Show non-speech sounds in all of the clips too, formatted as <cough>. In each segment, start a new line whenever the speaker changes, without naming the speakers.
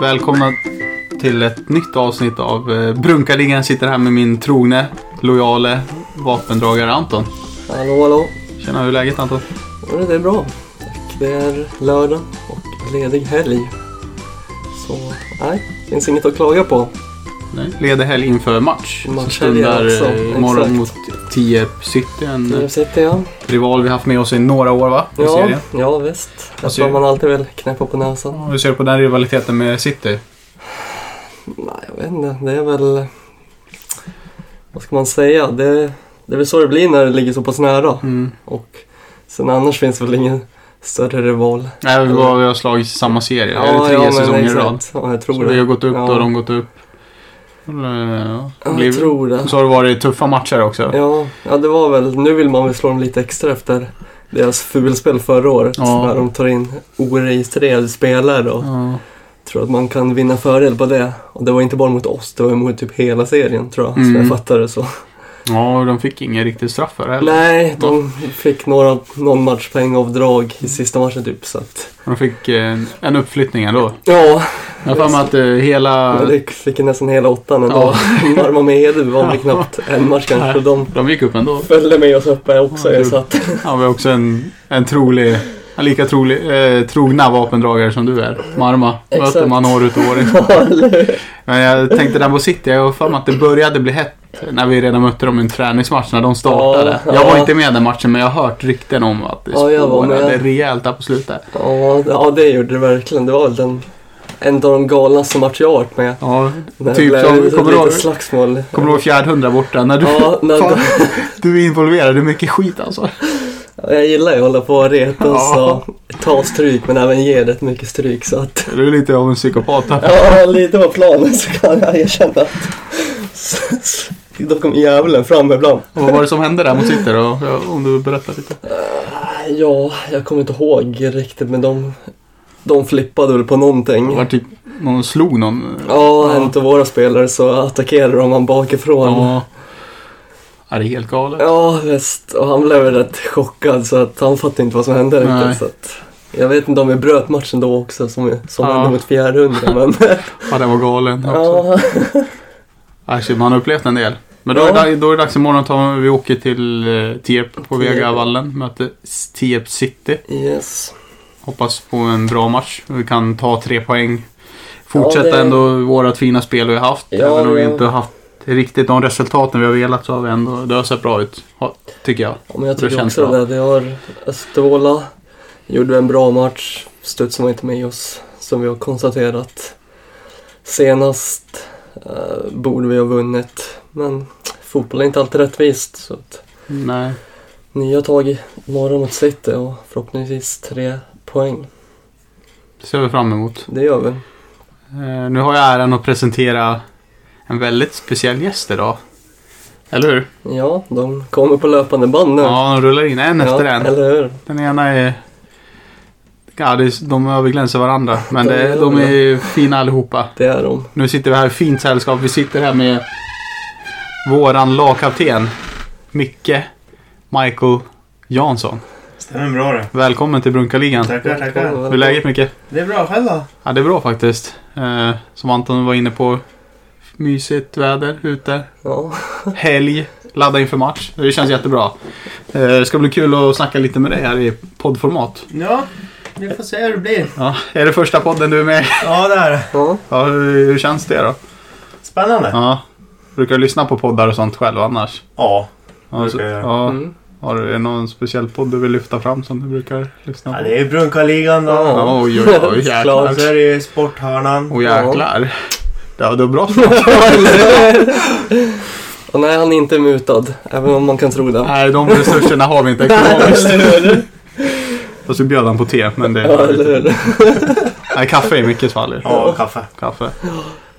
Välkomna till ett nytt avsnitt av eh, Brunkarligan. Sitter här med min trogne, lojale vapendragare Anton.
Hallå, hallå.
Tjena, hur är läget Anton?
Ja, Det är bra. Tack. Det är lördag och ledig helg. Så nej, finns inget att klaga på.
Nej. Leder helg inför match. som
Matchhelg
stundar
också,
eh, imorgon mot
exakt.
Tierp City. En eh,
Nu sitter jag.
rival vi haft med oss i några år va? I
Ja,
serien.
ja visst.
Vad
Jag
ser
tror
du?
man alltid vill knäppa på näsan.
Ja, Hur ser du på den rivaliteten med City?
Nej, jag vet inte. Det är väl... Vad ska man säga? Det, det är väl så det blir när det ligger så pass nära.
Mm.
Och sen annars finns väl ingen större rival.
Nej, vi, var, vi har slagit i samma serie. är det tre
men
säsonger i
exakt.
rad?
Ja, jag tror
Så
det.
vi har gått upp
ja.
och de har gått upp. Ja,
Ja,
blir-
jag tror det.
Så har det varit tuffa matcher också.
Ja, ja, det var väl. Nu vill man väl slå dem lite extra efter deras fulspel förra året.
Ja.
När de tar in oregistrerade spelare och
Ja.
tror att man kan vinna fördel på det. Och det var inte bara mot oss, det var mot typ hela serien tror jag. Som
Mm.
jag fattar det så.
Ja, och de fick ingen riktig straff för det heller.
Nej, de fick några, någon matchpoäng av drag i sista matchen typ. Så att,
De fick en, en uppflyttning ändå.
ja,
Jag har för mig att eh, hela...
men det fick ju nästan hela åttan ändå.
Ja.
<laughs> Marma med Edu var väl knappt en match kanske.
Nej.
De
De gick upp ändå.
följde med oss uppe också.
Ja, du-
så att,
Han var också en, en trolig... En lika trolig, eh, trogna vapendragare som du är. Marma.
Exakt.
Möter man år ut och år
<laughs>
in.
ja, eller hur?
Men jag tänkte där på City, jag har för mig att det började bli hett när vi redan mötte dem i en träningsmatch när de startade.
Ja,
Jag var
ja.
inte med i den matchen men jag har hört rykten om att det
Ja, jag var med.
spårade rejält där på slutet.
Ja, ja, det gjorde det verkligen. Det var väl den, en av de galnaste matcher jag varit med.
Ja,
När
Typ
det
som-
blev
kommer du
lite
ihåg-
slagsmål.
kommer du ihåg fjärdhundra borta? När du,
Ja, när
<laughs> fan, du är involverad, det är mycket skit alltså.
Jag gillar ju att hålla på och retas
Ja.
och ta stryk men även ge rätt mycket stryk så att
Du är lite av en psykopat. här.
Ja, lite på planen så kan jag erkänna att då kom djävulen fram ibland.
Och Vad var det som hände där mot City då? Ja, Om du berättar lite.
Ja, jag kommer inte ihåg riktigt men de, de flippade väl på
Det
någonting.
var typ någon slog någon.
Ja, en av våra spelare så attackerade de han bakifrån.
Ja. Ja, det är helt galet.
Ja visst, och han blev väl rätt chockad så att han fattade inte vad som hände
Nej.
riktigt. Så att, jag vet inte om vi bröt matchen då också som, som
Ja.
hände mot Fjärrhundra
<laughs>
men
Ja, det var galen också.
ja,
Ja. shit, man har upplevt en del. Men då, är
Ja.
det, dag- då är det dags imorgon att ta, vi åker till eh, Tierp på
Tierp.
Vegavallen. Möter Tierp City.
yes.
Hoppas på en bra match. Vi kan ta tre poäng. Fortsätta
Ja, det-
ändå vårt fina spel vi har haft.
Ja,
Även om vi
det-
inte har haft riktigt de resultaten vi har velat så har vi ändå... Det har sett bra ut. ha- Tycker jag.
Ja, men jag
Det
tycker
känns
också
bra.
det. Vi har Östervåla, gjorde en bra match. Studsen var inte med oss som vi har konstaterat. Senast eh, borde vi ha vunnit men fotboll är inte alltid rättvist. Så att,
Nej.
nya tag imorgon mot City och förhoppningsvis tre poäng.
Det ser vi fram emot.
Det gör vi.
Eh, Nu har jag äran att presentera en väldigt speciell gäst idag. Eller hur?
Ja, de kommer på löpande band nu.
Ja, de rullar in en efter
Ja,
en.
Eller hur?
Den ena är... Ja, det är, de överglänser varandra. Men
De
det,
gör
de
det.
är fina allihopa.
Det är de.
Nu sitter vi här i fint sällskap. Vi sitter här med våran lagkapten Micke Michael Jansson.
Stämmer bra det.
Välkommen till Brunkarligan.
Tackar, tackar.
Hur är läget Micke?
Det är bra, själv då?
Ja, det är bra faktiskt. Eh, som Anton var inne på. Mysigt väder ute.
Ja,
Helg. Ladda inför match. Det känns jättebra. Eh, det ska bli kul att snacka lite med dig här i poddformat.
Ja, vi får se hur det blir.
Ja, är det första podden du är med i?
Ja, det är det.
ja.
Ja, hur, hur känns det då?
Spännande.
Ja. Brukar du lyssna på poddar och sånt själv annars?
Ja.
Ja, så-
Brukar jag göra.
ja.
Mm.
Har du är det någon speciell podd du vill lyfta fram som du brukar lyssna på?
ja det är ju Brunkarligan då.
Ja.
Oj,
<laughs>
oj, oj, jäklar.
Klart.
Och så är det ju Sporthörnan.
Åh jäklar. Det var, det var bra
<laughs>
smak.
Och nej, han är inte mutad. Även om man kan tro det.
Nej, de resurserna har vi inte ekonomiskt.
hur?
Fast vi bjöd han på te, men det...
Ja, eller hur?
Nej, kaffe är Mickes fall. ju.
Ja, och kaffe.
Kaffe.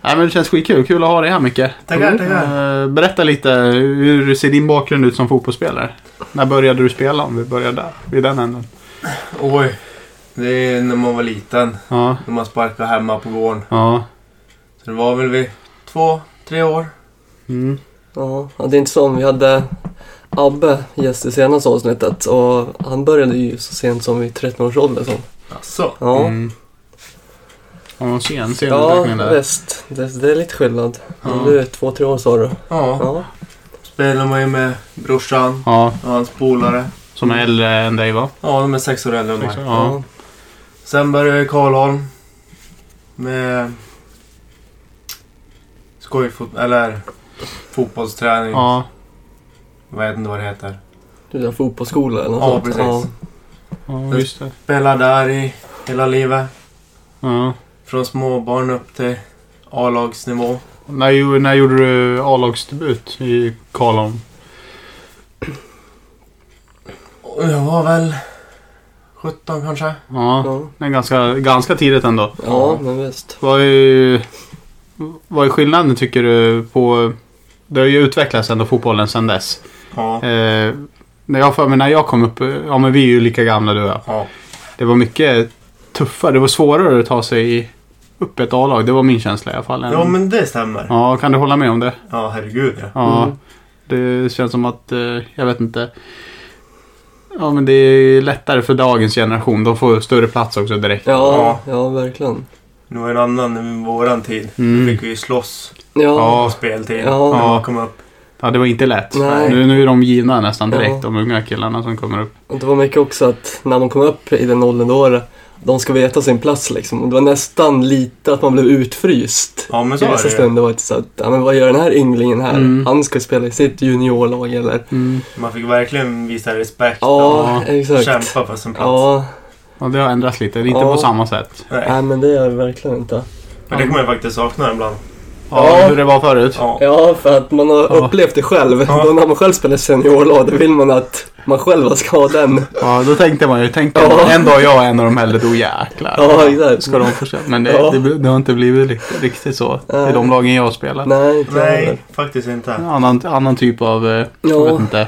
Nej, men det känns skitkul. Kul att ha dig här Micke.
Mm.
Tackar, tackar.
Eh, Berätta lite, hur ser din bakgrund ut som fotbollsspelare? När började du spela? Om vi börjar där, vid den änden.
Oj. Det är när man var liten.
Ja,
När man sparkade hemma på gården.
ja.
Så det var väl vid två, tre år.
Mm.
Ja, ja, det är inte som vi hade Abbe gäst i senaste avsnittet och han började ju så sent som vid 13-årsåldern. så.
Alltså.
Ja,
Mm. Har någon sen
ja
senutveckling där?
visst. Det, det är lite skillnad.
Ja.
Du är två, tre år sa du.
Ja,
Ja,
spelar man ju med brorsan
Ja,
och hans polare.
som är äldre än dig va?
Ja, de är sex år äldre än
Sex år?
mig.
Ja.
ja.
Sen började jag i Karlholm. Med skojfot... Eller fotbollsträning.
Ja.
Jag vet inte vad det heter.
Du är fotbollsskola eller något
Ja,
sånt.
precis.
ja, just det.
Spelar där i hela livet.
Ja.
Från småbarn upp till A-lagsnivå.
När, gjo- när gjorde du A-lagsdebut i Karlholm?
Och Jag var väl 17 kanske.
Ja,
Ja.
det är ganska, ganska tidigt ändå.
ja, men visst.
Vad är, vad är skillnaden tycker du på... Det har ju utvecklats ändå fotbollen sedan dess.
Ja.
Eh, när jag för mig när jag kom upp, ja men vi är ju lika gamla du och jag.
Ja.
Det var mycket tuffare, det var svårare att ta sig i- upp ett A-lag. Det var min känsla i alla fall. än-
ja, men det stämmer.
ja, kan du hålla med om det?
Ja, herregud ja.
Ja,
Mm.
det känns som att, eh, jag vet inte. Ja men det är lättare för dagens generation. De får större plats också direkt.
Ja, ja, verkligen.
Nu var det en annan än våran tid.
Mm.
Då fick vi ju slåss
Ja.
Ja,
på speltid.
Ja.
När
Ja.
man kom upp.
Ja, det var inte lätt.
Nej.
Nu, nu är de givna nästan direkt,
Ja.
de unga killarna som kommer upp.
och det var mycket också att när man kom upp i den åldern då, var det- de ska veta sin plats liksom. Och Det var nästan lite att man blev utfryst.
Ja, men
I
så
vissa
är det ju.
stunder var det så att, ja, men vad gör den här ynglingen här?
Mm.
Han ska spela i sitt juniorlag eller?
Man fick verkligen visa respekt
Ja,
och
exakt.
kämpa för sin plats.
Ja,
Ja, det har ändrats lite. Det är inte
Ja.
på samma sätt.
Nej.
nej men det gör jag verkligen inte.
Men det kommer jag faktiskt sakna ibland.
Ja,
Ja.
Hur det var förut.
Ja.
Ja, för att man har
Ja.
upplevt det själv.
Ja.
Då när man själv spelar i seniorlag, då vill man att man själv ska ha den.
Ja, då tänkte man ju. Tänkte
Ja.
man, en dag jag är en av de äldre, då jäklar.
Ja, exakt.
Ska de försöka? Men det,
Ja.
det, det har inte blivit riktigt, riktigt så. I
Nej.
de lagen jag spelar.
Nej, inte jag heller.
Nej, faktiskt inte.
En Annan, annan typ av, eh, jag
Ja.
vet inte.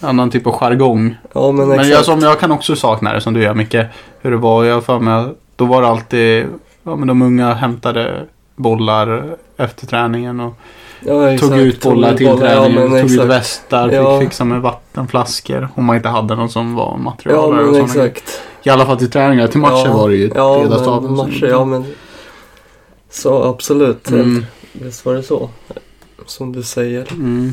Annan typ av jargong.
Ja, men exakt.
Men jag, som jag kan också sakna det som du gör Micke. Hur det var. Jag har för mig, då var det alltid, ja men de unga hämtade bollar efter träningen och
ja, exakt.
tog ut bollar till
ja,
träningen,
men
tog ut
exakt.
västar,
Ja.
fick fixa med vattenflaskor om man inte hade någon som var
Ja,
materialare och
men
sådana grejer.
exakt.
I alla fall till träningar, till matcher
Ja,
var det ju
Ja,
breda
men
staben som-
matcher, ja men. Så absolut.
Mm,
Visst var det så. Som du säger.
mm.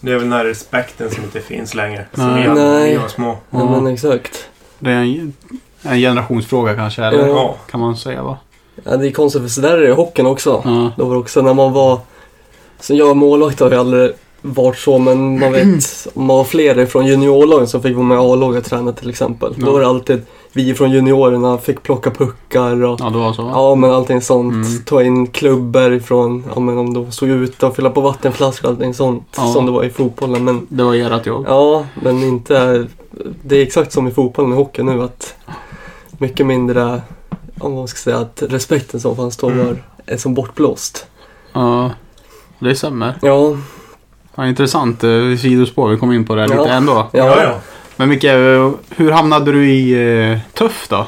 Det är väl den här respekten som inte finns längre. Som
Nej.
vi hade när vi
Nej.
var små.
Ja,
Ja.
men exakt.
Det är en, en generationsfråga kanske, eller?
Ja.
Ja.
Kan man säga va?
Ja, det är konstigt för sådär är det i hockeyn också.
Ja.
Då var det också när man var... Så jag är målvakt har jag aldrig varit så men man
Mm.
vet om man var flera från juniorlagen som fick vara med i A-laget och träna till exempel.
Ja.
Då var det alltid vi från juniorerna fick plocka puckar och
ja, det var så va?
Ja men allting sånt.
Mm.
Ta in klubbor ifrån, ja men om de såg ut och fylla på vattenflaskor och allting sånt.
Ja.
Som det var i fotbollen. Men
Det var ert jobb.
ja, men inte... Det är exakt som i fotbollen och hockey nu att mycket mindre, om man ska säga att respekten som fanns då
Mm.
var, är som bortblåst.
Ja. Det stämmer.
Ja,
Ja, intressant eh, sidospår. Vi kom in på det här lite
Ja.
ändå.
ja.
Ja, ja.
Men Micke, eh, hur hamnade du i eh, Tuff då?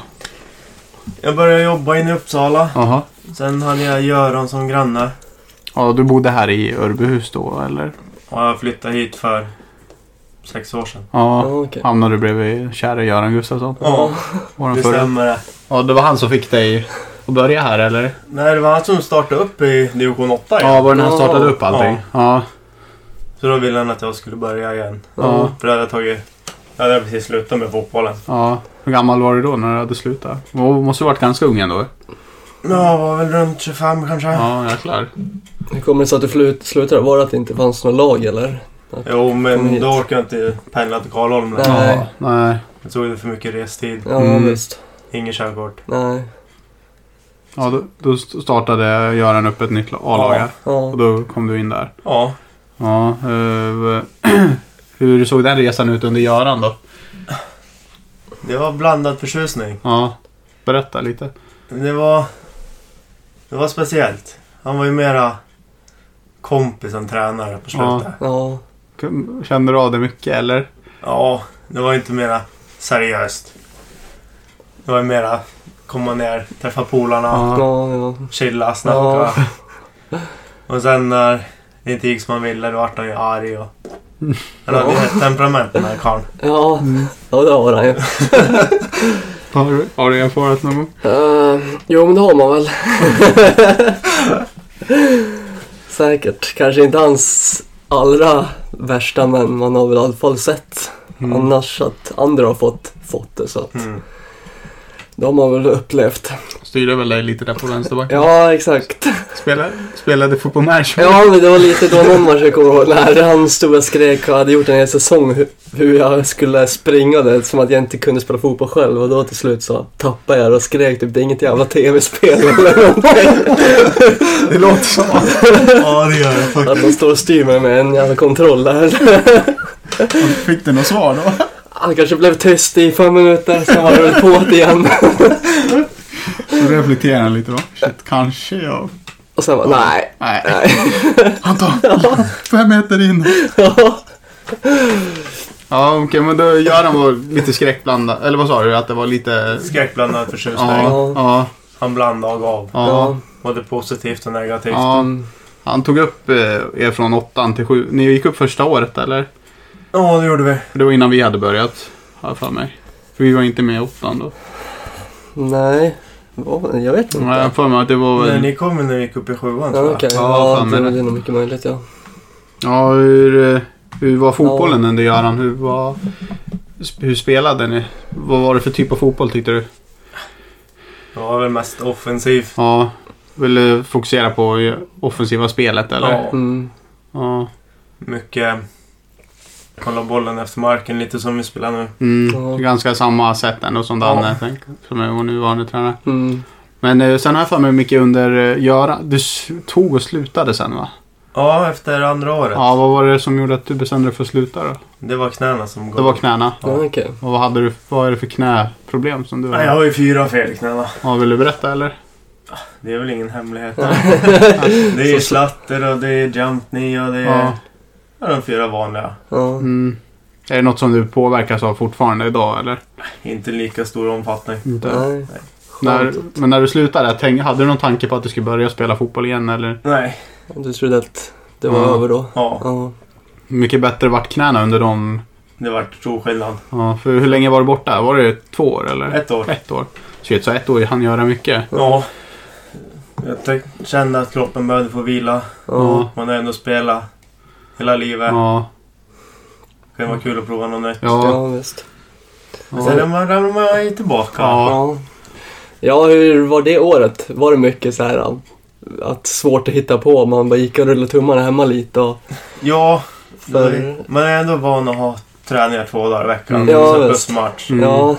Jag började jobba inne i Uppsala.
Jaha.
Sen hade jag Göran som granne.
Ja, du bodde här i Örbyhus då eller?
Och jag flyttade hit för sex år sedan.
Ja.
ja okej.
Hamnade du bredvid kära Göran Gustafsson?
Ja,
Våran
det
förra.
stämmer det.
Ja, det var han som fick dig att börja här eller?
Nej, det var han som startade upp i division 8 igen.
Ja, var det när han
Ja.
startade upp allting? Ja.
Så då ville han att jag skulle börja igen.
Ja.
För då hade jag tagit... Då hade jag precis slutat med fotbollen.
ja. Hur gammal var du då när du hade slutat? Du måste ha varit ganska ung ändå?
Ja, var väl runt 25 kanske.
Ja, jäklar.
Hur kommer det sig att du flut- slutade? Var det att det inte fanns något lag eller?
Jo,
Kom
men
hit.
då orkade jag inte pendla till Karlholm längre.
Nej.
Ja, nej.
Jag såg det för mycket restid.
Ja,
Mm.
visst.
Ingen körkort.
Nej.
Ja, då, då startade Göran upp ett nytt A-lag här.
Ja.
Och då kom du in där.
Ja.
Ja, eh, <clears throat> hur såg den resan ut under Göran då?
Det var blandad förtjusning.
Ja, berätta lite.
Det var... Det var speciellt. Han var ju mera kompis än tränare på
Ja.
slutet. Ja,
Ja.
Kände du av det mycket eller?
det var inte mera seriöst. Det var ju mera komma ner, träffa polarna.
Ja, ja.
chilla, <laughs> snacka. Och sen när det inte gick som man ville, då vart han ju arg och Han hade ju ett temperament den här karln.
Ja,
Mm.
ja det har han ju.
Har, du- har du erfarit någon gång?
Eh, jo, men det har man väl. Säkert. Kanske inte hans allra värsta, men man har väl i alla fall sett annars att andra har fått, fått det. Så att
Mm.
det har man väl upplevt.
Styrde väl dig lite där på vänsterbacken?
Ja, exakt.
Spelade, spelade fotboll med Ashby?
Ja, men det var lite då någon match jag kommer ihåg när han stod och skrek och hade gjort en hel säsong hu- hur jag skulle springa det som att jag inte kunde spela fotboll själv och då till slut så tappade jag det och skrek typ det är inget jävla tv-spel eller någonting.
Det låter som
Ja, det gör det faktiskt.
Att de står och styr mig med en jävla kontroll där.
Fick du något svar då?
Han kanske blev tyst i fem minuter, sen var det väl på det igen.
Så reflekterar han lite då. Shit, kanske jag...
Och sen bara nej.
Nej.
nej.
Anton! Fem meter in!
Ja.
Ja, okej, men då Göran var lite skräckblandad. Eller vad sa du? Att det var lite...
Skräckblandad
Ja,
förtjusning.
ja, ja,
Han blandade och gav.
ja,
Både positivt och negativt.
Han, han tog upp eh, er från åttan till sju. Ni gick upp första året eller?
Ja, det gjorde vi.
För det var innan vi hade börjat, har jag för mig. För vi var inte med i åttan då.
Nej. Vad- Jag vet inte.
Nej, jag har för mig att det var
Nej,
väl...
ni kom ju när vi gick upp i sjuan tror
Ja,
jag.
okej.
Ja,
Ja,
fan,
det
men-
är nog mycket möjligt ja.
Ja, hur, eh, hur var fotbollen under Göran? Hur, var, sp- hur spelade ni? Vad var det för typ av fotboll tyckte du?
Det var väl mest offensivt.
Ja, ville fokusera på det offensiva spelet eller?
Ja.
Mm.
Ja.
Mycket kolla bollen efter marken, lite som vi spelar nu.
Mm,
Ja.
Ganska samma sätt ändå som
Ja.
Danne, tänk, som är vår nuvarande tränare.
Mm.
Men eh, sen har jag för mig mycket under eh, Göran. Du s- tog och slutade sen va?
Ja, efter andra året.
Ja, vad var det som gjorde att du bestämde dig för att sluta då?
Det var knäna som gav.
Det var knäna.
Ja,
<laughs>
okej.
Och vad, hade du, vad är det för knäproblem som du
Nej, jag
har?
har ju fyra fel i knäna.
Ja, vill du berätta eller?
Det är väl ingen hemlighet. <laughs> det är slatter och det är jump knee och det är
Ja.
ja, de fyra vanliga.
Ja.
Mm. Är det något som du påverkas av fortfarande idag eller?
Inte lika stor omfattning.
Inte.
Nej.
När,
Skönt.
men när du slutade, tänk, hade du någon tanke på att du skulle börja spela fotboll igen eller?
Nej,
Du trodde att det var
Ja.
över då?
ja.
Ja.
Mycket bättre vart knäna under de...
Det vart stor skillnad.
Ja, för hur länge var du borta? Var det två år eller?
Ett år.
Ett år. Shit, så ett år han göra mycket.
Ja. Jag tyck- kände att kroppen behövde få vila.
Ja.
Man har ändå spelat hela livet.
Ja.
Det kan vara kul att prova något nytt.
Ja.
Ja, visst.
Men Sen
ja.
när man ramlar man ju tillbaka.
Ja.
Ja. ja, hur var det året? Var det mycket så här um, att svårt att hitta på? Man bara gick och rullade tummarna hemma lite och...
Ja,
För-
det- man är ändå van att ha träningar två dagar i veckan.
Mm.
Ja,
Sen
visst.
bussmatch.
Mm.
Ja,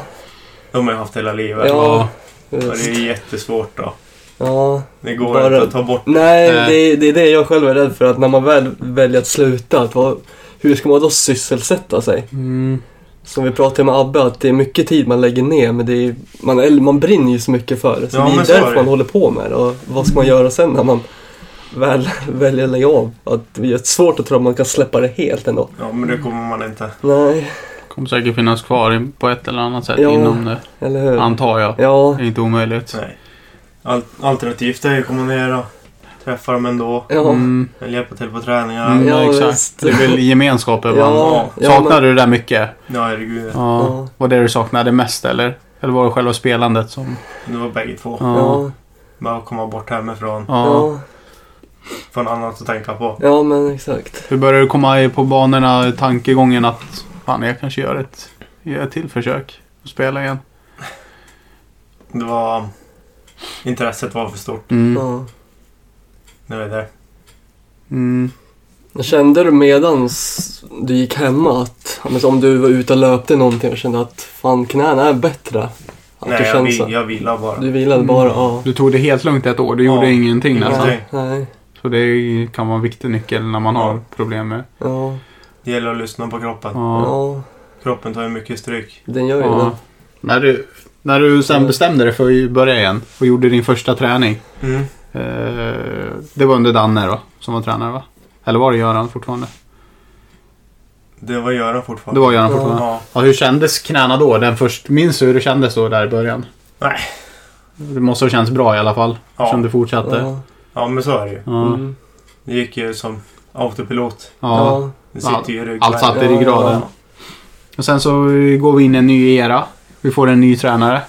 De har jag haft hela livet.
Ja.
Ja.
Och det
visst.
är jättesvårt då.
Ja.
Det går
Bara-
inte att ta bort.
Nej,
Nej.
det, det är det jag själv är rädd för. Att när man väl väljer att sluta, att vad, hur ska man då sysselsätta sig?
Mm.
Som vi pratade med Abbe, att det är mycket tid man lägger ner, men det är, man, eller man brinner ju så mycket för det. Så
Ja,
det är
men så är
därför
det.
man håller på med det. Och vad ska man göra sen när man väl väljer att lägga av? Att det är svårt att tro att man kan släppa det helt ändå.
Ja, men det kommer man inte.
Nej,
Kommer säkert finnas kvar in- på ett eller annat sätt
Ja.
inom det.
eller hur?
Antar jag.
Ja,
Det är inte omöjligt.
Nej. Al- alternativt är ju att komma ner och träffa dem ändå.
ja.
Mm.
Eller hjälpa till på träningarna.
Mm,
Ja,
exakt.
visst.
Det är väl gemenskap ibland.
ja, ja,
Saknade
men-
du det där mycket?
Ja, herregud.
Ja.
Ja.
Var det du saknade mest eller? Eller var det själva spelandet som...
Det var bägge två.
Ja.
Ja,
Bara att komma bort hemifrån.
ja.
ja,
Få något annat att tänka på.
ja, men exakt.
Hur började du komma i- på banorna, tankegången att fan, jag kanske gör ett, gör ett till försök och spela igen?
Det var... Intresset var för stort.
Mm.
Ja.
Nu är det.
Mm.
Kände du medans du gick hemma att, ja, men om du var ute och löpte någonting och kände att fan knäna är bättre? Att
Nej,
du
jag,
kände
vi,
så?
jag vilar bara.
Du vilade bara,
Mm.
ja.
Du tog det helt lugnt ett år. Du
Ja.
gjorde ingenting nästan.
Ingenting.
Nej,
Så det kan vara en viktig nyckel när man har problem med...
ja,
Det gäller att lyssna på kroppen.
Ja.
ja,
Kroppen tar ju mycket stryk.
den gör ju
Ja.
det.
När, du, när du sen bestämde dig för att börja igen och gjorde din första träning.
Mm.
Eh, det var under Danne då, som var tränare va? Eller var det Göran fortfarande?
Det var Göran
Det
fortfarande.
var Göran
Ja.
fortfarande.
Ja.
Ja, hur kändes knäna då? Den först, minns du hur det kändes då där i början?
Nej.
Det måste ha känts bra i alla fall. Som
Ja.
du fortsatte.
Ja.
ja, men så är det ju.
Ja.
Mm.
Det gick ju som autopilot.
Ja.
Ja.
Det sitter ju i ryggen.
Allt satt i
Ja, ja,
ryggraden.
ja.
Och sen så går vi in i en ny era. Vi får en ny tränare.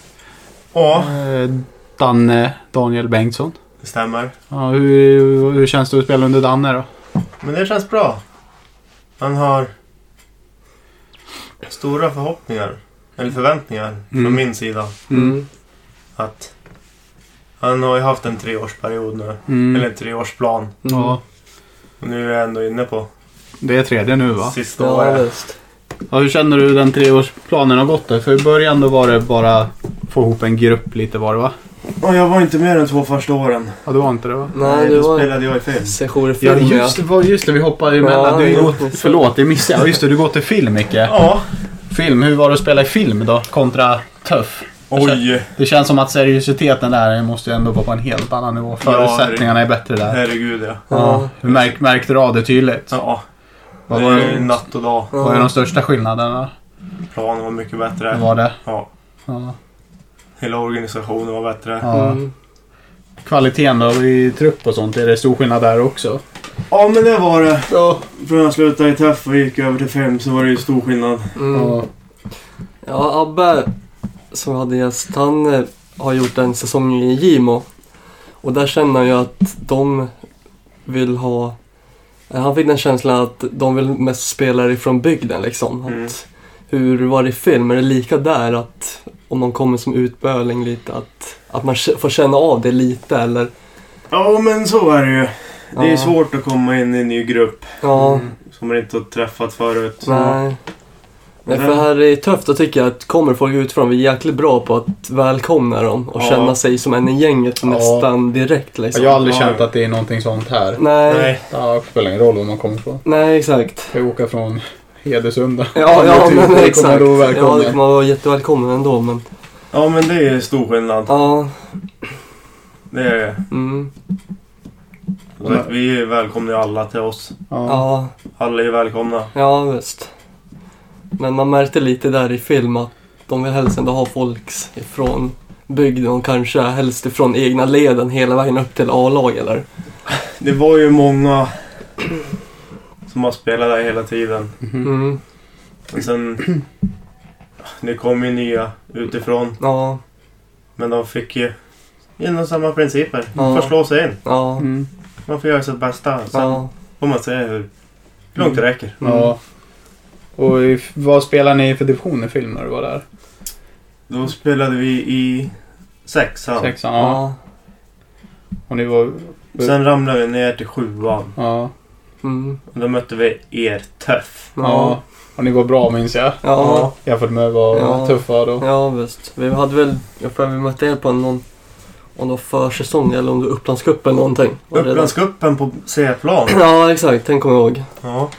Ja,
Eh, Danne Daniel Bengtsson.
det stämmer.
Ja, hur, hur känns det att spela under Danne då?
Men det känns bra. Han har stora förhoppningar. Eller förväntningar
Mm.
från min sida.
Mm.
Att han har ju haft en treårsperiod nu.
Mm.
Eller en treårsplan.
Ja,
Och nu är jag ändå inne på
det är tredje nu va?
sista
Ja,
året.
visst.
Ja, hur känner du hur den treårsplanen har gått då? För i början då var det bara få ihop en grupp lite var det va?
Och jag var inte med de två första åren.
Ja, det var inte det va?
Nej, det
då
var
spelade jag i film.
session i
Ja
film ja.
just det, vad- just det vi hoppade emellan.
Ja,
du,
ja.
går- förlåt, det missade jag. Ja, Just det, du går till film Micke.
Ja.
Film, hur var det att spela i film då? Kontra tuff.
Oj.
Det känns som att seriositeten där måste ju ändå vara på en helt annan nivå. Förutsättningarna är bättre där.
Herregud ja.
Ja, hur märk, märkte du av det tydligt?
Ja. Det
Vad var
är
det?
natt och dag.
Vad är de största skillnaderna?
Planen var mycket bättre.
Vad var det?
Ja.
Ja.
Hela organisationen var bättre.
Ja.
Mm.
Kvaliteten då i trupp och sånt, är det stor skillnad där också?
Ja men det var det.
Ja.
Från jag slutade i TEF och gick över till film så var det ju stor skillnad.
Mm. Ja, Abbe som vi hade gäst, han eh, har gjort en säsong i Gimo. Och där känner jag ju att de vill ha... eh, Han fick den känslan att de vill mest spela ifrån bygden liksom.
Mm.
Att hur var det i film? Är det lika där att om någon kommer som utböling lite att, att man k- får känna av det lite eller?
Ja men så är det ju. Det är
Ja.
ju svårt att komma in i en ny grupp
Ja,
som man inte har träffat förut.
nej. Nej, för
Men-
här är tufft att tycka att kommer folk utifrån, vi är jäkligt bra på att välkomna dem och
Ja.
känna sig som en i gänget
Ja.
nästan direkt liksom.
Jag har aldrig känt att det är någonting sånt här.
Nej, nej,
Nej.
Ja, det spelar ingen roll var man kommer ifrån.
exakt.
Jag åker från Hedesunda.
Ja, ja
Det
men
kommer
exakt.
då
Ja,
välkomna.
det kommer vara jättevälkommen ändå men
Ja men det är ju stor skillnad.
ja,
Det är det.
mm,
Så att Vi är ju välkomna ju alla till oss.
Ja.
ja,
Alla är ju välkomna.
ja visst. Men man märkte lite där i film att de vill helst ändå ha folks ifrån bygden och kanske helst ifrån egna leden hela vägen upp till A-lag eller?
Det var ju många som har spelat där hela tiden.
Mhm.
Mm,
Men sen... <clears throat> Det kom ju nya utifrån.
ja,
Men de fick ju inom samma principer. Man
Ja.
får slå sig in.
ja,
Mm.
Man får göra sitt bästa. Sen
ja. Mm.
får man se hur långt det räcker.
Ja. Och i- vad spelar ni för division i film när du var där?
Då spelade vi i sexan.
Sexan? Ja.
Ja.
Och ni var...
Sen ramlade vi ner till sjuan.
Ja.
Mm.
Och Då mötte vi er tuff.
Ja.
Ja.
Och ni var bra minns jag.
Ja.
Jämfört med vad
Ja.
tuffa då.
Ja, visst. Vi hade väl, jag tror vi mötte er på någon, om det var försäsong eller om det var Upplandscup eller någonting. Och redan-
Upplandscupen på C-plan.
<clears throat> Ja, exakt. Den kommer jag ihåg.
Ja.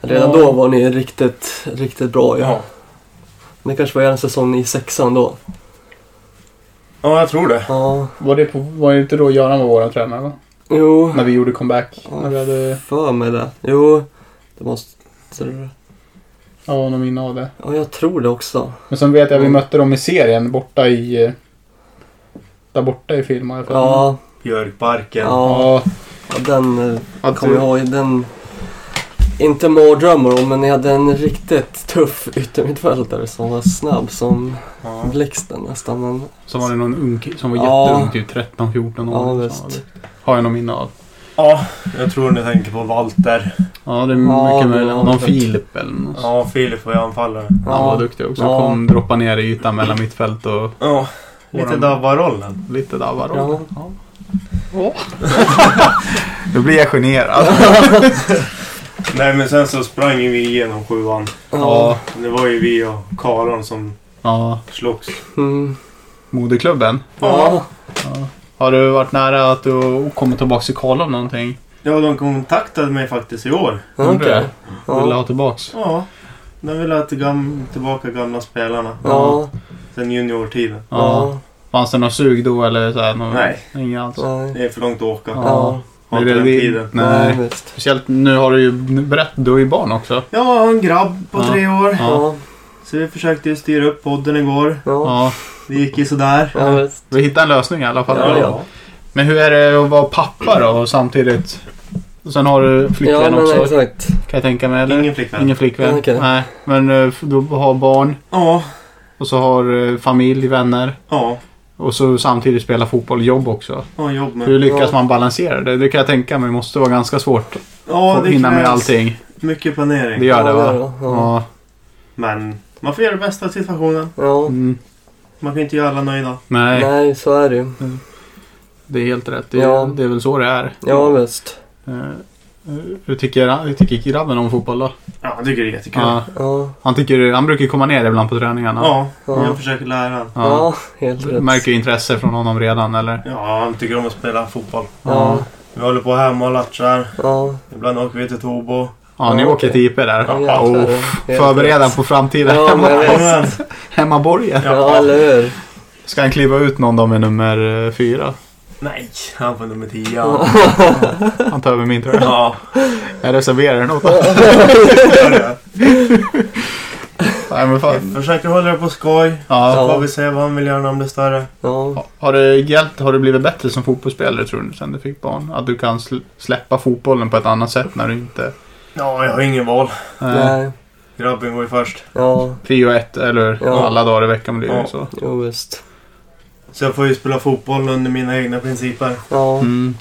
Redan
Ja.
då var ni riktigt, riktigt bra ju.
Ja.
Det kanske var er säsong i sexan då.
ja, jag tror det.
Ja,
Var det, på, var det inte då Göran var vår tränare va?
jo.
När vi gjorde comeback?
Ja,
När vi hade...
För mig det. Jo, det måste...
Ja, någon minne av det.
Ja, jag tror det också.
Men sen vet jag vi
Mm.
mötte dem i serien borta i... eh, Där borta i film har jag för mig.
Ja,
Björkbarken.
ja.
Ja.
ja den eh,
Att
kommer
du-
jag ihåg. Den... Inte mardrömmar om, men ni hade en riktigt tuff yttermittfältare som var snabb som
Ja.
blixten nästan. Men,
Så var det någon ung ki- som var
Ja.
jätteung, typ 13-14 år.
ja,
som
visst.
var- Har jag någon minne av.
Ja, jag tror ni tänker på Walter.
Ja, det är
Ja,
mycket
det
möjligt.
var
Någon
det.
Filip eller något. sånt.
Ja, Filip var ju anfallare.
Han var
Ja,
duktig också.
Ja.
Kom droppa ner i ytan mellan mittfält och
Ja, lite
Våran-
dabbarollen.
lite där var
Ja.
ja. Ja. <laughs> Nu blir jag generad.
<laughs>
Nej, men sen så sprang ju vi igenom sjuan.
ja.
Det var ju vi och Karon som
ja.
slogs.
Mm.
Moderklubben.
ja.
Ja. Har du varit nära att du kommer tillbaka till Karl om någonting?
Ja, de kontaktade mig faktiskt i år.
ja.
Gjorde
okej.
det? Vill du
Ja.
ha tillbaks?
Ja, de ville ha till gam- tillbaka gamla spelarna.
Ja.
Sen juniortiden.
Ja.
Ja.
Fanns det någon sug då eller så här, någon...
Nej.
Inget alls?
Nej.
Det är för långt att åka.
Ja.
Ja.
Har inte den tiden.
Nej.
visst.
Speciellt nu har du ju berättat, du har ju barn också.
Jag har en grabb på
Ja.
tre år.
Ja.
Så vi försökte ju styra upp podden igår.
Ja.
Ja.
Det gick ju sådär.
Ja, visst.
Vi hittade en lösning i alla fall.
Ja, ja.
Men hur är det att vara pappa då och samtidigt Och sen har du
ja,
flickvän
men
också
exakt.
kan jag tänka mig. Eller?
Ingen flickvän.
Ingen flickvän.
Okej.
Nej, men eh, du har barn
Ja,
och så har eh, familj, vänner
ja.
och så samtidigt spela fotboll, jobb också.
Ja, jobb med.
Hur lyckas
Ja.
man balansera det? Det kan jag tänka mig måste vara ganska svårt
Ja,
att
det
hinna med
krävs
allting.
mycket planering.
Det gör det
Ja,
va?
ja, ja.
Ja.
Men man får göra det bästa av situationen.
Ja,
Mm.
Man kan inte göra alla nöjda.
Nej,
nej, så är det ju.
det är helt rätt. Det,
Ja.
det är väl så det är.
Ja, visst.
Eh, eh, Hur tycker, hur tycker grabben om fotboll då?
Ja, jag tycker det är jättekul. Ja,
Ja,
Ja,
han, tycker, han brukar ju komma ner ibland på träningarna.
Ja.
jag försöker lära honom.
ja.
Ja.
helt
Du
rätt.
märker ju intresse från honom redan eller?
Ja, han tycker om att spela fotboll.
Ja,
Vi håller på hemma och latchar.
ja.
Ibland åker vi till Tobo.
Ja, ni
Ja,
åker
okej.
till IP där. Ja,
Ja, jäklar,
och
det är
f-
helt
förbereda
rätt.
på framtiden.
Ja, men jag vet.
Jajamän.
Hemmaborgen.
Ja, eller hur?
Ska han kliva ut någon dag med nummer eh, fyra?
Nej, han får nummer 10.
Ja.
Ja.
Han tar över min tröja.
ja.
Jag reserverar den åt honom.
gör det.
Nej, men
Jag
fan.
försöker hålla det på skoj.
Ja.
Så får vi se vad han vill göra när han blir större.
Ja,
Ha- Har det hjälpt? Har du blivit bättre som fotbollsspelare tror du sen du fick barn? Att du kan sl- släppa fotbollen på ett annat sätt när du inte...
Ja, jag har ingen val.
Eh,
nej.
Grabben går ju först.
Ja,
prio ett eller
Ja.
alla dagar i veckan blir det ju
Ja.
så.
jo visst.
Så jag får ju spela fotboll under mina egna principer.
Ja,
Mm.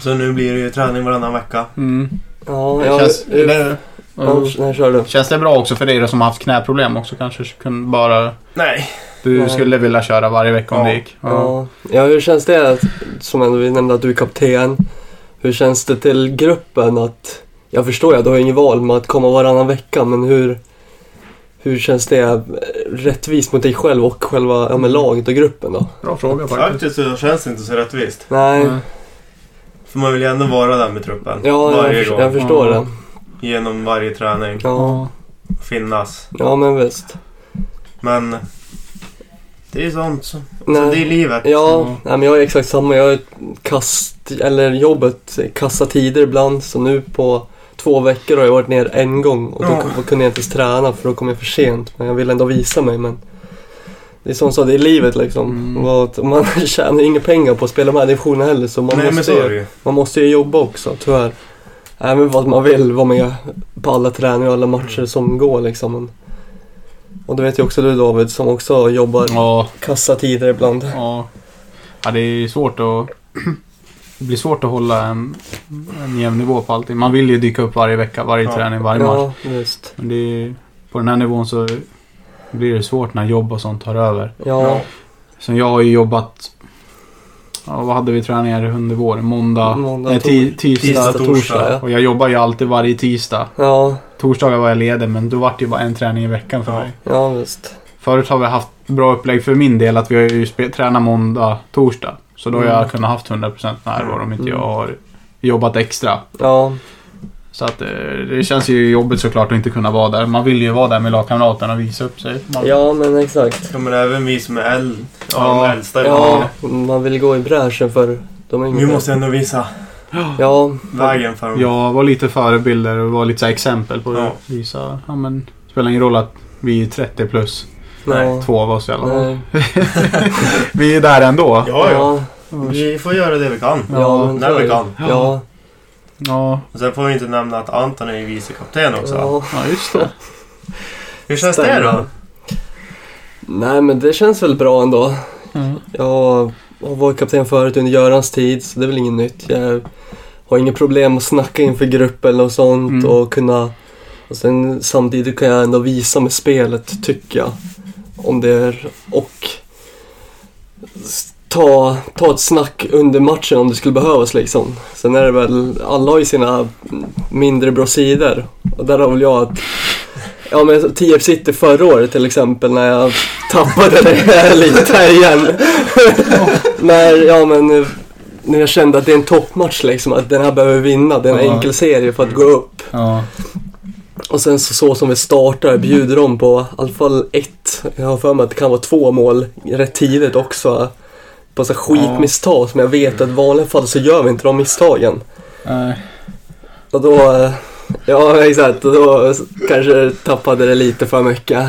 Så nu blir det ju träning varannan vecka.
Mm.
ja.
Det
ja
känns,
ja,
det, Mm.
ja, nej, kör du.
känns det bra också för dig då som har haft knäproblem också? Kanske kunde bara...
Nej.
Du
Nej.
skulle vilja köra varje vecka om
Ja.
det gick?
Ja. ja, hur känns det? att- Som ändå vi nämnde att du är kapten. Hur känns det till gruppen att... Jag förstår ju att du har inget val med att komma varannan vecka, men hur... Hur känns det eh, rättvist mot dig själv och själva ja, men laget och gruppen då?
Bra fråga faktiskt.
Faktiskt så känns det inte så rättvist.
Nej,
Mm.
För man vill ju ändå vara där med truppen.
ja, jag,
varje
förs-
gång.
jag förstår
Ja.
det.
Genom varje träning.
Ja,
Finnas.
ja men visst.
Men det är ju sånt. Så. Så
Nej.
det är livet.
Ja,
Ja.
Nej, men jag är exakt samma. Jag är kast, eller jobbet kassa tider ibland. Så nu på två veckor har jag varit ner en gång och då
Ja.
k- kunde jag inte ens träna för då kom jag för sent. Men jag ville ändå visa mig. Men det är som så, det är livet liksom.
Mm.
Och att Man <laughs> tjänar inga pengar på att spela de här divisionerna heller så man,
Nej men
måste,
så är
ju,
det ju.
man måste ju jobba också tyvärr. Även fast man vill vara med på alla träningar och alla matcher som går liksom. Men, och det vet ju också du David som också jobbar
Ja,
kassa tider ibland.
ja. ja, det är svårt att... Det blir svårt att hålla en, en jämn nivå på allting. Man vill ju dyka upp varje vecka, varje
Ja.
träning, varje match.
Ja, just.
Men det är, på den här nivån så blir det svårt när jobb och sånt tar över.
Ja,
Så jag har ju jobbat... Ja, vad hade vi träningar under våren? Måndag,
Måndag,
nej, ti- tisdag,
tisdag,
torsdag.
torsdag,
ja.
Och jag jobbar ju alltid varje tisdag.
ja,
Torsdagar var jag ledig men då var det ju bara en träning i veckan för
Ja.
mig.
ja visst.
Förut har vi haft bra upplägg för min del att vi har ju spe- tränat måndag, torsdag. Så då har jag
Mm.
kunnat haft 100% närvaro om inte
Mm.
jag har jobbat extra.
Ja,
Så att eh, det känns ju jobbigt såklart att inte kunna vara där. Man vill ju vara där med lagkamraterna och visa upp sig. Man,
ja men exakt.
Ja, men även vi som är äld, ja,
Ja.
de äldsta
Ja, man vill gå i bräschen för de yngre.
Vi måste ändå visa
Ja,
vägen för <laughs> dem.
Jag var lite förebilder och var lite så här exempel på hur
Ja.
visa. Ja, men, det spelar ingen roll att vi är 30 plus.
ja.
Två av oss i alla fall.
Nej.
<laughs> Vi är där ändå.
Ja, ja.
ja,
Vi får göra det vi kan.
ja, men
När
så är
vi
det.
kan.
Ja,
Ja,
Och sen får vi inte nämna att Anton är vicekapten också.
ja.
ja just det.
Hur känns det då?
Nej men det känns väl bra ändå.
Mm.
Jag har varit kapten förut under Görans tid så det är väl inget nytt. Jag har inga problem att snacka inför grupp eller något sånt
Mm.
och kunna... Och sen samtidigt kan jag ändå visa med spelet, tycker jag. Om det är... Och s- ta, ta ett snack under matchen om det skulle behövas liksom. Sen är det väl... Alla har ju sina mindre bra sidor. Och där har väl jag att... Ja men Tierp City förra året till exempel när jag tappade det här <laughs> lite igen. När, ja men, eh, när jag kände att det är en toppmatch liksom, att den här behöver vi vinna. Det är en
Ja.
enkel serie för att gå upp.
Ja.
Och sen så, så som vi startar bjuder de på i alla fall ett, jag har för mig att det kan vara två mål rätt tidigt också. På så här skitmisstag som jag vet att i vanliga fall så gör vi inte de misstagen.
Nej.
Och då, eh, ja exakt, och då kanske jag tappade det lite för mycket.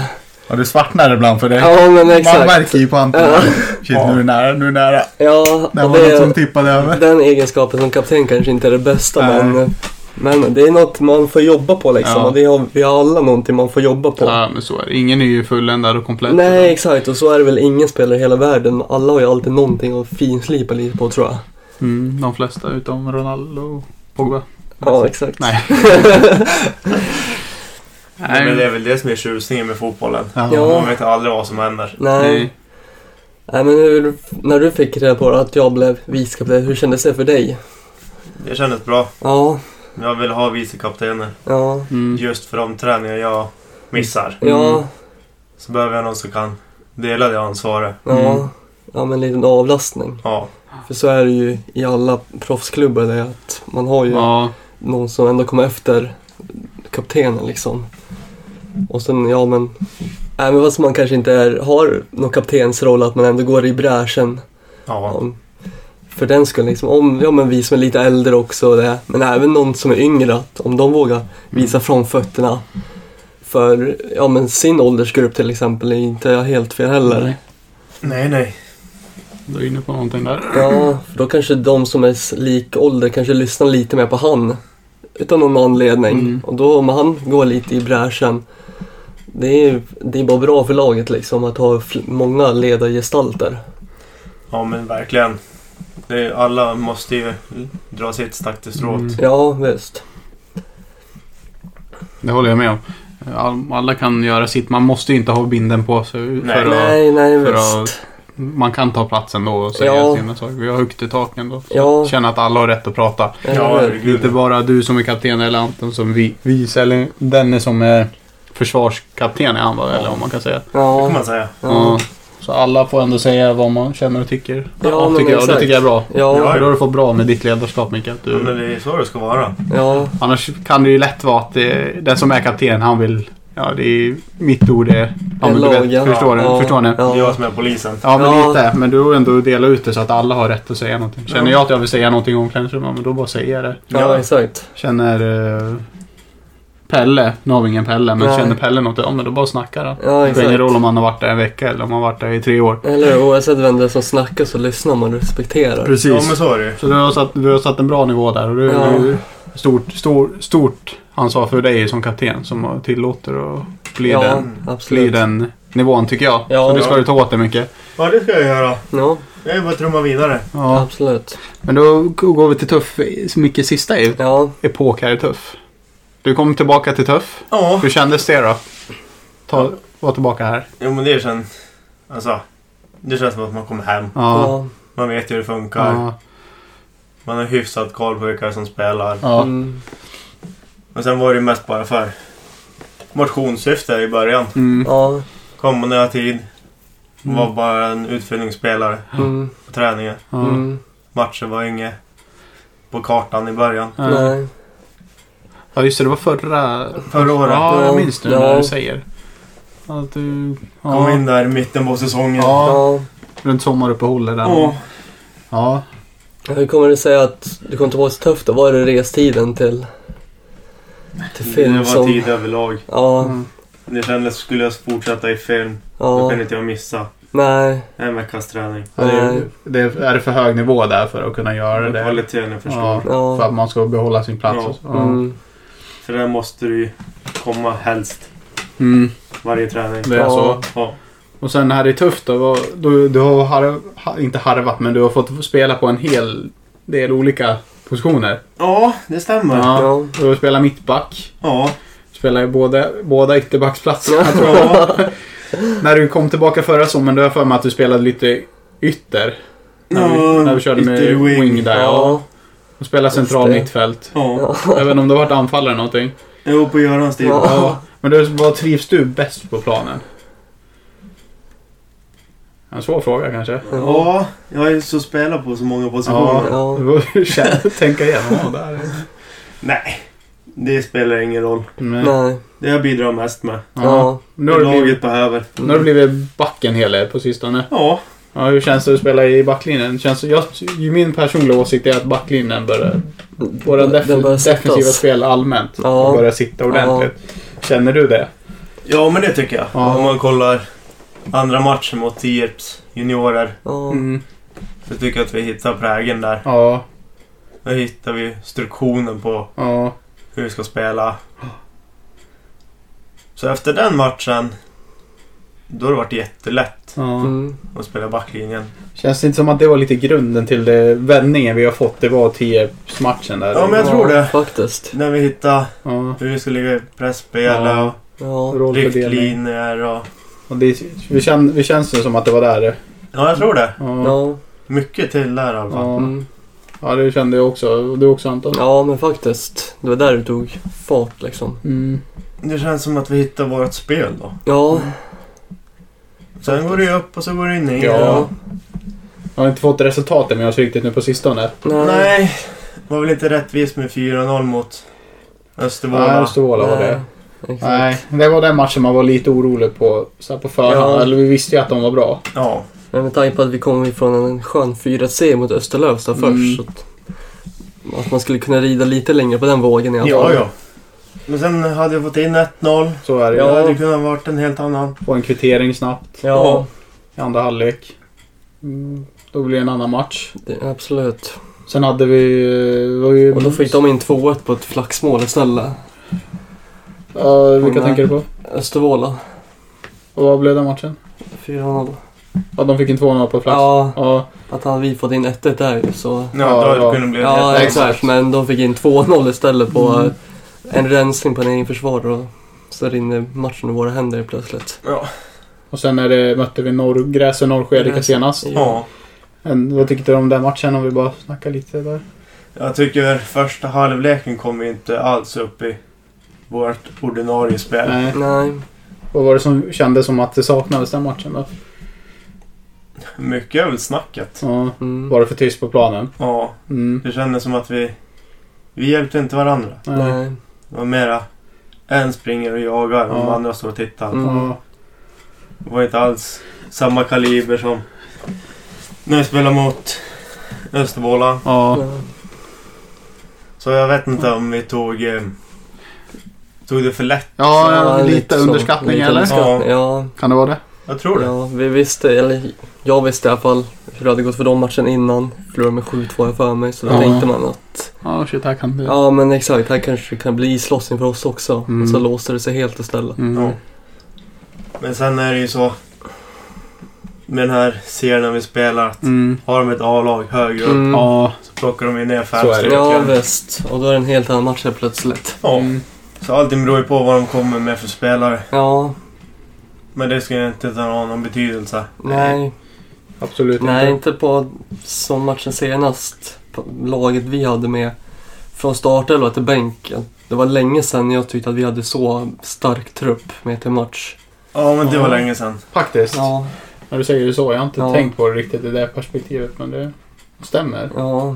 Ja, du svartnar ibland för det.
Ja, men
Man
exakt.
märker ju på Anton.
Ja.
Shit, nu är det nära, nu är det nära.
Ja,
Det
och
var något som
det,
tippade över.
den egenskapen som kapten kanske inte är det bästa,
Nej.
men, men det är något man får jobba på liksom.
Ja.
Och det har, vi har alla någonting man får jobba på.
Ja, men så är det. Ingen är ju fulländad och komplett.
Nej, exakt. Och så är det väl ingen spelare i hela världen. Alla har ju alltid någonting att finslipa lite på, tror jag.
Mm, de flesta utom Ronaldo och Pogba.
Ja, exakt.
Nej.
Nej, men det
Nej.
är väl det som är tjusningen med fotbollen.
Ja.
Man vet aldrig vad som händer.
Nej.
Nej.
Nej, men hur, när du fick reda på att jag blev vicekapten, hur kändes det för dig?
Det kändes bra.
Ja,
Jag vill ha vicekaptenen.
ja,
Mm.
Just för de träningar jag missar
ja,
så behöver jag någon som kan dela det ansvaret.
ja.
Mm.
Ja, men en liten avlastning.
Ja,
För så är det ju i alla proffsklubbar, det är att man har ju
Ja.
någon som ändå kommer efter kaptenen liksom. Och sen, ja men, även fast man kanske inte är, har någon kaptensroll, att man ändå går i bräschen.
ja.
Om, för den skull, liksom, om, ja men vi som är lite äldre också, och det, men även någon som är yngre, att om de vågar
Mm.
visa framfötterna för ja, men sin åldersgrupp till exempel, är inte helt fel heller.
Nej.
Nej, nej.
Du är inne på någonting där.
Ja, för då kanske de som är s- lik ålder kanske lyssnar lite mer på han. Utan någon anledning.
Mm.
Och då om han går lite i bräschen. Det är, det är bara bra för laget liksom att ha fl- många ledargestalter.
Ja, men verkligen. Det är, alla måste ju dra sitt stack till strået.
Mm.
Ja, visst.
Det håller jag med om. All- Alla kan göra sitt. Man måste ju inte ha binden på sig.
Nej.
För att,
nej, nej,
för
visst.
att man kan ta plats ändå och säga
Ja.
sina saker. Vi har högt i tak ändå.
Ja.
Känna att alla har rätt att prata.
Ja,
Eller hur?
Det är inte
herregud.
bara du som är kapten eller Anton som vi, vice eller denne som är försvarskapten är han va? Eller om man kan säga.
Det kan
ja,
man säga.
Ja.
ja,
Så alla får ändå säga vad man känner och tycker.
Ja, men
tycker jag, och det
exakt.
tycker jag är bra.
ja,
Ja.
För då har du fått bra med ditt ledarskap Micke. Att
Ja, men
du,
det är så det ska vara.
ja,
annars kan det ju lätt vara att det, den som är kapten han vill... Ja, det är mitt ord är... Ja, men du vet,
Lagen.
förstår, du?
Ja.
förstår ni?
Det är jag
ja,
som är polisen.
Ja, men
Ja.
lite. Men du har ändå delat ut det så att alla har rätt att säga någonting. Känner
Ja.
jag att jag vill säga någonting om omklädningsrummet, ja, men då bara säger jag det.
ja, exakt.
Känner eh, Pelle, nu har vi ingen Pelle, men
Nej.
känner Pelle något, ja men då bara snackar han.
Ja,
Det spelar ingen
exakt.
roll om han har varit där en vecka eller om han har varit där i tre år.
Eller oavsett vem det är som snackar så lyssnar man och respekterar.
Ja, men
Precis.
så är det ju.
Så du har, satt, du har satt en bra nivå där och du
Ja.
du- stort, stor, stort ansvar för dig som kapten som tillåter att bli,
Ja,
den, bli
absolut.
den nivån tycker jag.
Ja.
så det ska du ta åt dig mycket.
Ja, det ska jag göra.
Ja,
Jag är bara att trumma vidare.
Ja.
absolut.
Men då går vi till Tuff, mycket sista
Ja,
epok här i Tuff. Du kom tillbaka till Tuff.
Ja,
Hur kändes det då? Ta, var tillbaka här.
jo, men det känns... Alltså, det känns som att man kommer hem.
ja,
Man vet hur det funkar.
ja.
Man har hyfsat koll på vilka som spelar.
ja.
Mm,
Men sen var det ju mest bara för motionssyfte i början.
Mm.
ja.
Komma när jag har tid.
Mm.
Var bara en utfyllningsspelare
Mm,
på träningen.
Ja.
mm,
Matcher var inget på kartan i början.
Ja.
nej.
ja, just det. Det var förra...
Förra året.
Ja, jag
Ja.
minns nu när
Ja.
du säger. Att du...
Kom
Ja,
in där i mitten på säsongen.
Ja.
Ja.
runt sommaruppehållet där.
Ja.
Ja.
Hur kommer det sig att du kom tillbaka så tufft då? Var det restiden till, till film
det var
som...
tid överlag.
Ja,
Mm.
Det kändes, skulle jag fortsätta i film, då
ja,
kunde inte jag missa
nej,
en veckas träning.
Ja, det, är,
Nej.
det är- är det för hög nivå där för att kunna göra det?
Kvaliteten är för stor.
Ja. För att
ja.
man ska behålla sin plats.
Ja.
och så. Ja.
Mm,
För där måste du ju komma helst
Mm.
varje träning.
Det är
Ja.
så.
Ja.
Och sen här i Tufft då. vad- Du, du har harv, har- inte harvat, men du har fått spela på en hel del olika positioner.
ja, det stämmer. Ja.
Ja.
ja,
Du har spelat mittback.
Ja.
Spelar ju båda, båda ytterbacksplatserna.
Ja.
tror jag. När du kom tillbaka förra sommaren, då har jag för mig att du spelade lite ytter. När vi, när vi körde med wing,
ytterwing.
där. Ja.
ja,
Och spelade central
det.
mittfält.
Ja.
Jag vet inte om du har varit anfallare eller någonting.
Jo, på Görans tid.
Ja.
Ja. Men du, vad trivs du bäst på planen? En svår fråga kanske.
Ja, jag är så spelar på så många positioner.
Ja.
Du får känna- tänka igenom vad det är.
Nej, det spelar ingen roll.
Men,
nej,
Det jag bidrar mest med.
ja.
ja.
Nu,
Det
har du
laget
blivit,
behöver.
nu har du blivit back en hel del på sistone.
Ja,
Ja, hur känns det att spela i backlinjen? Känns det, jag, ju min personliga åsikt är att backlinjen börjar... Våra def,
Mm. Den börjar sättas.
defensiva spel allmänt
Ja.
börjar sitta ordentligt. Känner du det?
Ja, men det tycker jag.
Ja.
Om man kollar andra matchen mot Tierps juniorer
Ja,
Mm.
så tycker jag att vi hittar prägen där.
Ja,
Där hittar vi struktionen på
ja,
hur vi ska spela. Så efter den matchen då har det varit jättelätt
ja.
mm.
att spela backlinjen.
Känns det inte som att det var lite grunden till det vändningen vi har fått? Det var Tierps-matchen där.
Ja, men jag
ja,
tror det.
Faktiskt.
När vi hittar
Ja.
hur vi ska ligga i presspel
Ja,
Ja,
och
rollfördelning.
riktlinjer och...
Och det, vi, känner, vi känns ju som att det var där. det.
Ja, jag tror det.
Ja,
ja,
Mycket till där i alla fall.
ja.
mm.
ja det kände jag också. Du också Anton?
ja, men faktiskt. Det var där det tog fart liksom.
Mm.
Det känns som att vi hittar vårt spel då.
Ja,
Sen går det ju upp och så går det ner.
Ja. Jag har inte fått resultaten med oss riktigt nu på sistone.
nej.
Nej, var väl inte rättvist med 4-0 mot
Nej,
Östervåla.
Östervåla var det.
Nej, exakt.
Nej, det var den matchen man var lite orolig på så här på förhand.
Ja.
Eller vi visste ju att de var bra.
Ja,
Men med tanke på att vi kom ifrån en skön 4-3 mot Österlövsta
Mm.
först. Så att, att man skulle kunna rida lite längre på den vågen i alla
ja,
fall.
ja. Men sen hade vi fått in 1-0.
Så är det
Det
ju.
hade kunnat varit en helt annan.
Få en kvittering snabbt
Ja,
i andra halvlek. Mm, då blir det en annan match.
det, absolut.
Sen hade vi... eh, Var ju,
Och då fick de in 2-1 på ett flaxmål istället.
Ja, vilka
Nej.
tänker du på?
Östervåla,
Och vad blev den matchen?
4-0.
Ja, de fick en 2-0 på plats.
Ja,
Ja,
att hade vi fått in 1-1 där ju så...
Ja,
Ja,
då hade
ja.
det kunnat bli en helt
Ja,
annan.
exakt.
exakt.
Men de fick in 2-0 istället på
Mm.
en rensning på en egen försvarare. och Så rinner matchen i våra händer helt plötsligt.
Ja.
Och sen är det, mötte vi norr, Gräs och Norrskedika
Gräs.
senast.
ja.
En, vad tyckte du om den matchen om vi bara snackar lite där?
Jag tycker första halvleken kom vi inte alls upp i vårt ordinarie spel.
Nej.
Nej.
Vad var det som kändes som att det saknades den matchen då?
Mycket är väl snacket.
Ja.
Mm.
Var det för tyst på planen?
Ja,
Mm.
det kändes som att vi... Vi hjälpte inte varandra.
Nej.
Nej.
Det var mera... En springer och jagar och
Ja.
de andra står och tittar.
Mm.
Ja.
Det var inte alls samma kaliber som när vi spelade mot Östervåla.
Ja.
Nej.
Så jag vet inte om vi tog, eh, tog det för lätt.
Ja,
Ja,
lite,
så.
underskattning
Lite
eller?
underskattning, ja.
Kan det vara det?
Jag tror det.
Ja, vi visste, eller jag visste i alla fall hur det hade gått för de matchen innan. Förlorade med 7-2 har jag för mig, så då
Ja.
tänkte man att
Ja, shit, här kan det...
ja men exakt, här kanske det kan bli islossning för oss också.
Mm.
Och så låste det sig helt istället.
Mm.
Ja. Men sen är det ju så med den här serien vi spelar. att
Mm.
Har de ett A-lag högre upp
Mm.
Ja.
så plockar de ju ner fem
Så är det.
stycken.
Ja visst, och då är det en helt annan match helt plötsligt.
Ja.
Mm.
Så allting beror ju på vad de kommer med för spelare.
Ja,
Men det ska ju inte ha någon betydelse.
nej.
Absolut
Nej,
inte.
inte på som matchen senast. På laget vi hade med från startelva till bänken. Det var länge sedan jag tyckte att vi hade så stark trupp med till match.
Ja, men det var
Ja.
länge sedan.
Faktiskt.
Ja,
När du säger det så. Jag har inte
Ja.
tänkt på det riktigt i det perspektivet, men det stämmer.
ja,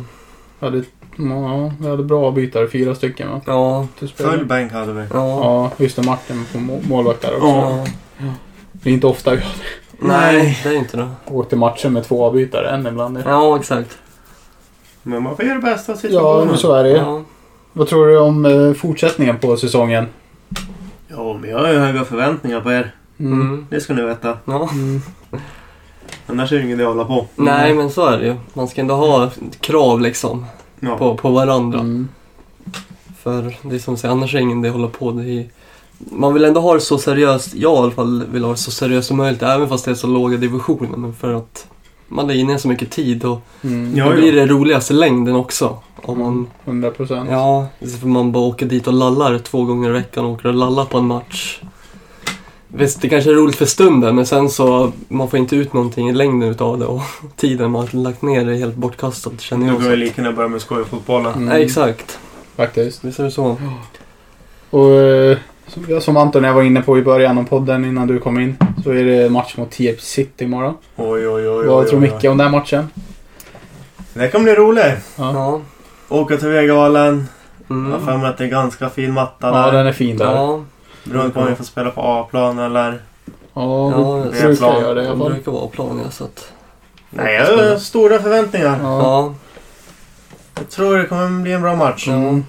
Jag hade, ja, jag hade bra bytare, fyra stycken va?
ja,
Till spel.
Full bänk hade vi.
ja.
Ja, just det. Martin på må- målvakt där också.
Ja.
Det är inte ofta vi
Nej, det är inte det.
<laughs> åker till matcher med två avbytare än ibland. Ja,
Ja, exakt.
Men man får göra det bästa av
ja
situationen.
men så är det ju.
Ja.
Vad tror du om eh, fortsättningen på säsongen?
Ja, men jag har ju höga förväntningar på er.
Mm.
Det ska ni veta.
Ja.
Mm.
Annars är det ingen idé att hålla på.
Nej, men så är det ju. Man ska ändå ha krav liksom
Ja.
på, på varandra.
Mm.
För det är som säger, annars är det ingen idé att hålla på. Det är, man vill ändå ha det så seriöst. Jag i alla fall vill ha det så seriöst som möjligt, även fast det är så låga divisioner. Men för att man lägger ner så mycket tid och
Mm.
Ja.
det blir det roligaste längden också. Om man,
100 procent.
ja, för man bara åker dit och lallar två gånger i veckan och åker och lallar på en match. Visst, det kanske är roligt för stunden, men sen så man får inte ut någonting i längden utav det och <laughs> tiden man har lagt ner är helt bortkastad känner
Nu
jag.
går
Också.
jag lika gärna börja med skojfotbollen.
Mm.
Nej, exakt.
Faktiskt.
Visst är det så.
Och eh, som, jag- som Anton och jag var inne på i början av podden innan du kom in. Så är det match mot TF City imorgon.
Oj, oj, oj.
Vad
oj,
tror
oj, oj.
Micke om den matchen?
Det här kan bli roligt.
Ja.
Ja.
Åka till Vegalen.
Mm.
Jag har för mig att det är ganska fin matta
Ja,
där.
den är fin där. Ja,
Ja,
Beroende på om vi får spela på A-plan eller...
Ja,
ja
det är
brukar
klart.
göra det i
de
alla fall.
brukar vara planiga så att...
Nej, jag har stora förväntningar.
Ja.
Ja.
Jag tror det kommer bli en bra match.
Ja.
Mm.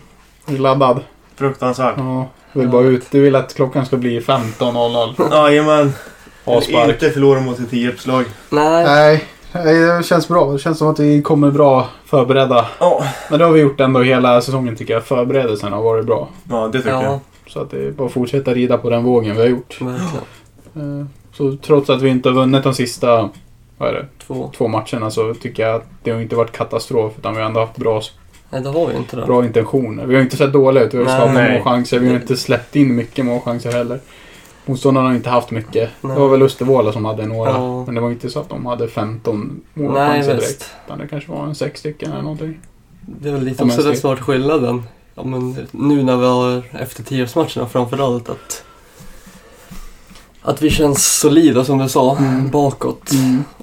Laddad.
Fruktansvärt.
Ja. Du vill bara ut. Du vill att klockan ska bli 15.00.
Jajamän.
Avspark.
Inte förlora mot ett Tierpslag.
Nej,
Nej, nej, det känns bra. Det känns som att vi kommer bra förberedda.
Ja.
Men det har vi gjort ändå hela säsongen tycker jag. Förberedelsen har varit bra.
Ja, det tycker
ja,
Så att det är bara att fortsätta rida på den vågen vi har gjort.
verkligen.
Eh, Så trots att vi inte har vunnit de sista vad är det,
Två.
två matcherna så tycker jag att det har inte varit katastrof. Utan vi har ändå haft bra,
Nej, det har ju inte det.
bra intentioner. Vi har inte sett dåliga ut. Vi har ju
Nej.
skapat
Nej.
målchanser. Vi har inte släppt in mycket målchanser heller. Motståndarna har inte haft mycket.
Nej.
Det var väl Östervåla som hade några.
Ja.
Men det var inte så att de hade 15
Nej,
målchanser direkt.
visst.
Utan det kanske var en sex stycken eller någonting.
Det är väl lite
Om
också
jag
den
ska-
stora skillnaden. Ja, men nu när vi har efter tioårsmatcherna framförallt att att vi känns solida som du sa
Mm.
bakåt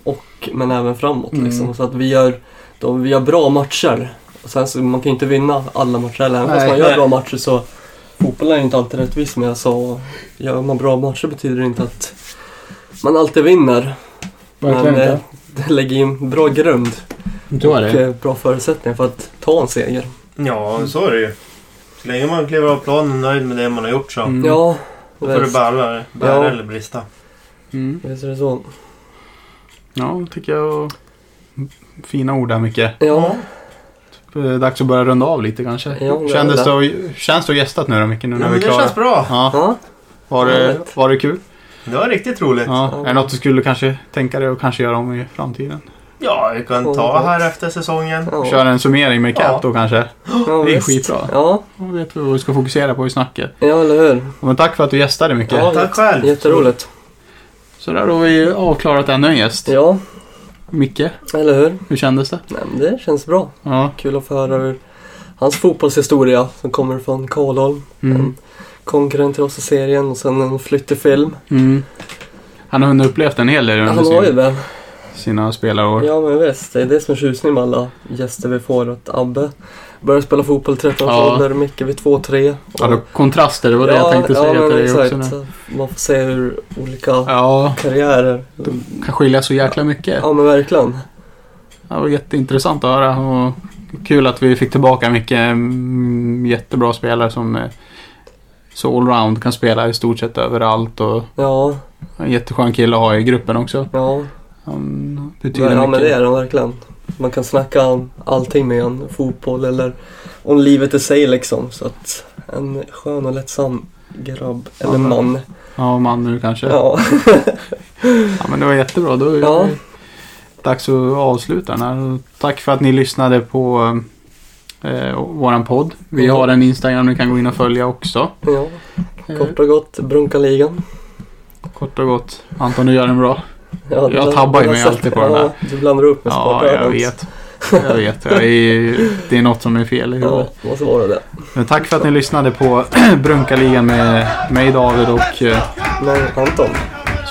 och, men även framåt
Mm.
liksom. Så att vi gör, då, vi gör bra matcher. Och sen så, man kan ju inte vinna alla matcher heller. Även fast
Nej.
man gör
Nej.
bra matcher så fotbollen är inte alltid rättvis som jag sa. Gör man bra matcher betyder det inte att man alltid vinner.
Verkligen
men eh,
inte.
det lägger in bra grund
Så är
och
det.
eh, bra förutsättningar för att ta en seger.
Ja, så är det ju. Så länge man kliver av planen och är nöjd med det man har gjort så.
Mm.
Ja,
Då får det
visst.
bära,
Ja.
bära eller brista.
Mm.
Visst är det så.
Ja, tycker jag. Fina ord där Micke.
Ja,
Eh, Dags att börja runda av lite kanske.
Ja, det är
Kändes
det.
det, känns det att gästat nu då Micke? Nu
Ja,
när vi
men
är
det
klara?
känns bra.
Ja,
ja.
var, det,
Härligt.
var det kul?
Det var riktigt roligt. Ja,
Ja. Är det något du skulle kanske tänka dig att kanske göra om i framtiden?
vi kan ta
Underbart.
här efter säsongen.
ja.
Köra en summering med Cap
Ja.
då kanske?
ja
det är
visst.
skitbra.
Ja,
Då vet vi vad vi ska fokusera på i snacket.
ja, eller hur.
Ja, Men tack för att du gästade Micke.
Ja.
Tack själv.
Jätteroligt.
Så där har vi avklarat ännu en gäst.
Ja,
Micke,
eller hur.
hur kändes det?
Nej, men det känns bra.
Ja.
Kul att få höra hur hans fotbollshistoria som kommer från Karlholm.
Mm.
En konkurrent till oss i serien och sen en flytt till film.
Mm. Han har hunnit upplevt en hel del
Ja,
under
han har ju
sin,
det.
sina spelarår.
Ja men visst, det är det som är tjusningen med alla gäster vi får. Att Abbe började spela fotboll i 13 års
Ja.
ålder, Micke vid 2-3. och-
Ja, då, Alltså, kontraster, det var det jag tänkte säga
men
till dig också.
exakt.
Nu.
Man får se hur olika
Ja,
karriärer...
kan skilja så jäkla mycket.
Ja men verkligen.
Det var jätteintressant att höra. Och kul att vi fick tillbaka mycket mm, jättebra spelare som är så allround, kan spela i stort sett överallt och
Ja,
en jätteskön kille att ha i gruppen också.
ja.
Han betyder
Ja men
mycket.
det är de verkligen. Man kan snacka om allting med en. Fotboll eller om livet i sig liksom. Så att en skön och lättsam grabb. Eller
Ja, men-
man.
Ja, man nu kanske. Ja.
Ja.
men det var jättebra. Då är det
Ja.
dags att avsluta den här. Och Tack för att ni lyssnade på eh, våran podd. Vi
Ja.
har en Instagram ni kan gå in och följa också.
ja. <laughs>
Eh,
Kort och gott, Brunkaligan.
Kort och gott. Anton, du gör den bra.
Ja, du
Jag
bland-
tabbar ju
du
mig
blandar-
alltid på den där.
Ja, du blandar upp med
Ja,
sportölen
jag
också.
vet. Jag vet. Jag är, det är något som är fel i
Ja,
huvudet.
måste vara det.
Men tack för att ni lyssnade på <clears throat> Brunkaligan med mig, David och eh,
Men Anton,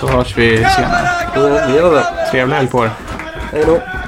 så hörs vi senare.
ja, vi gör det.
Trevlig helg på er.
Hej då.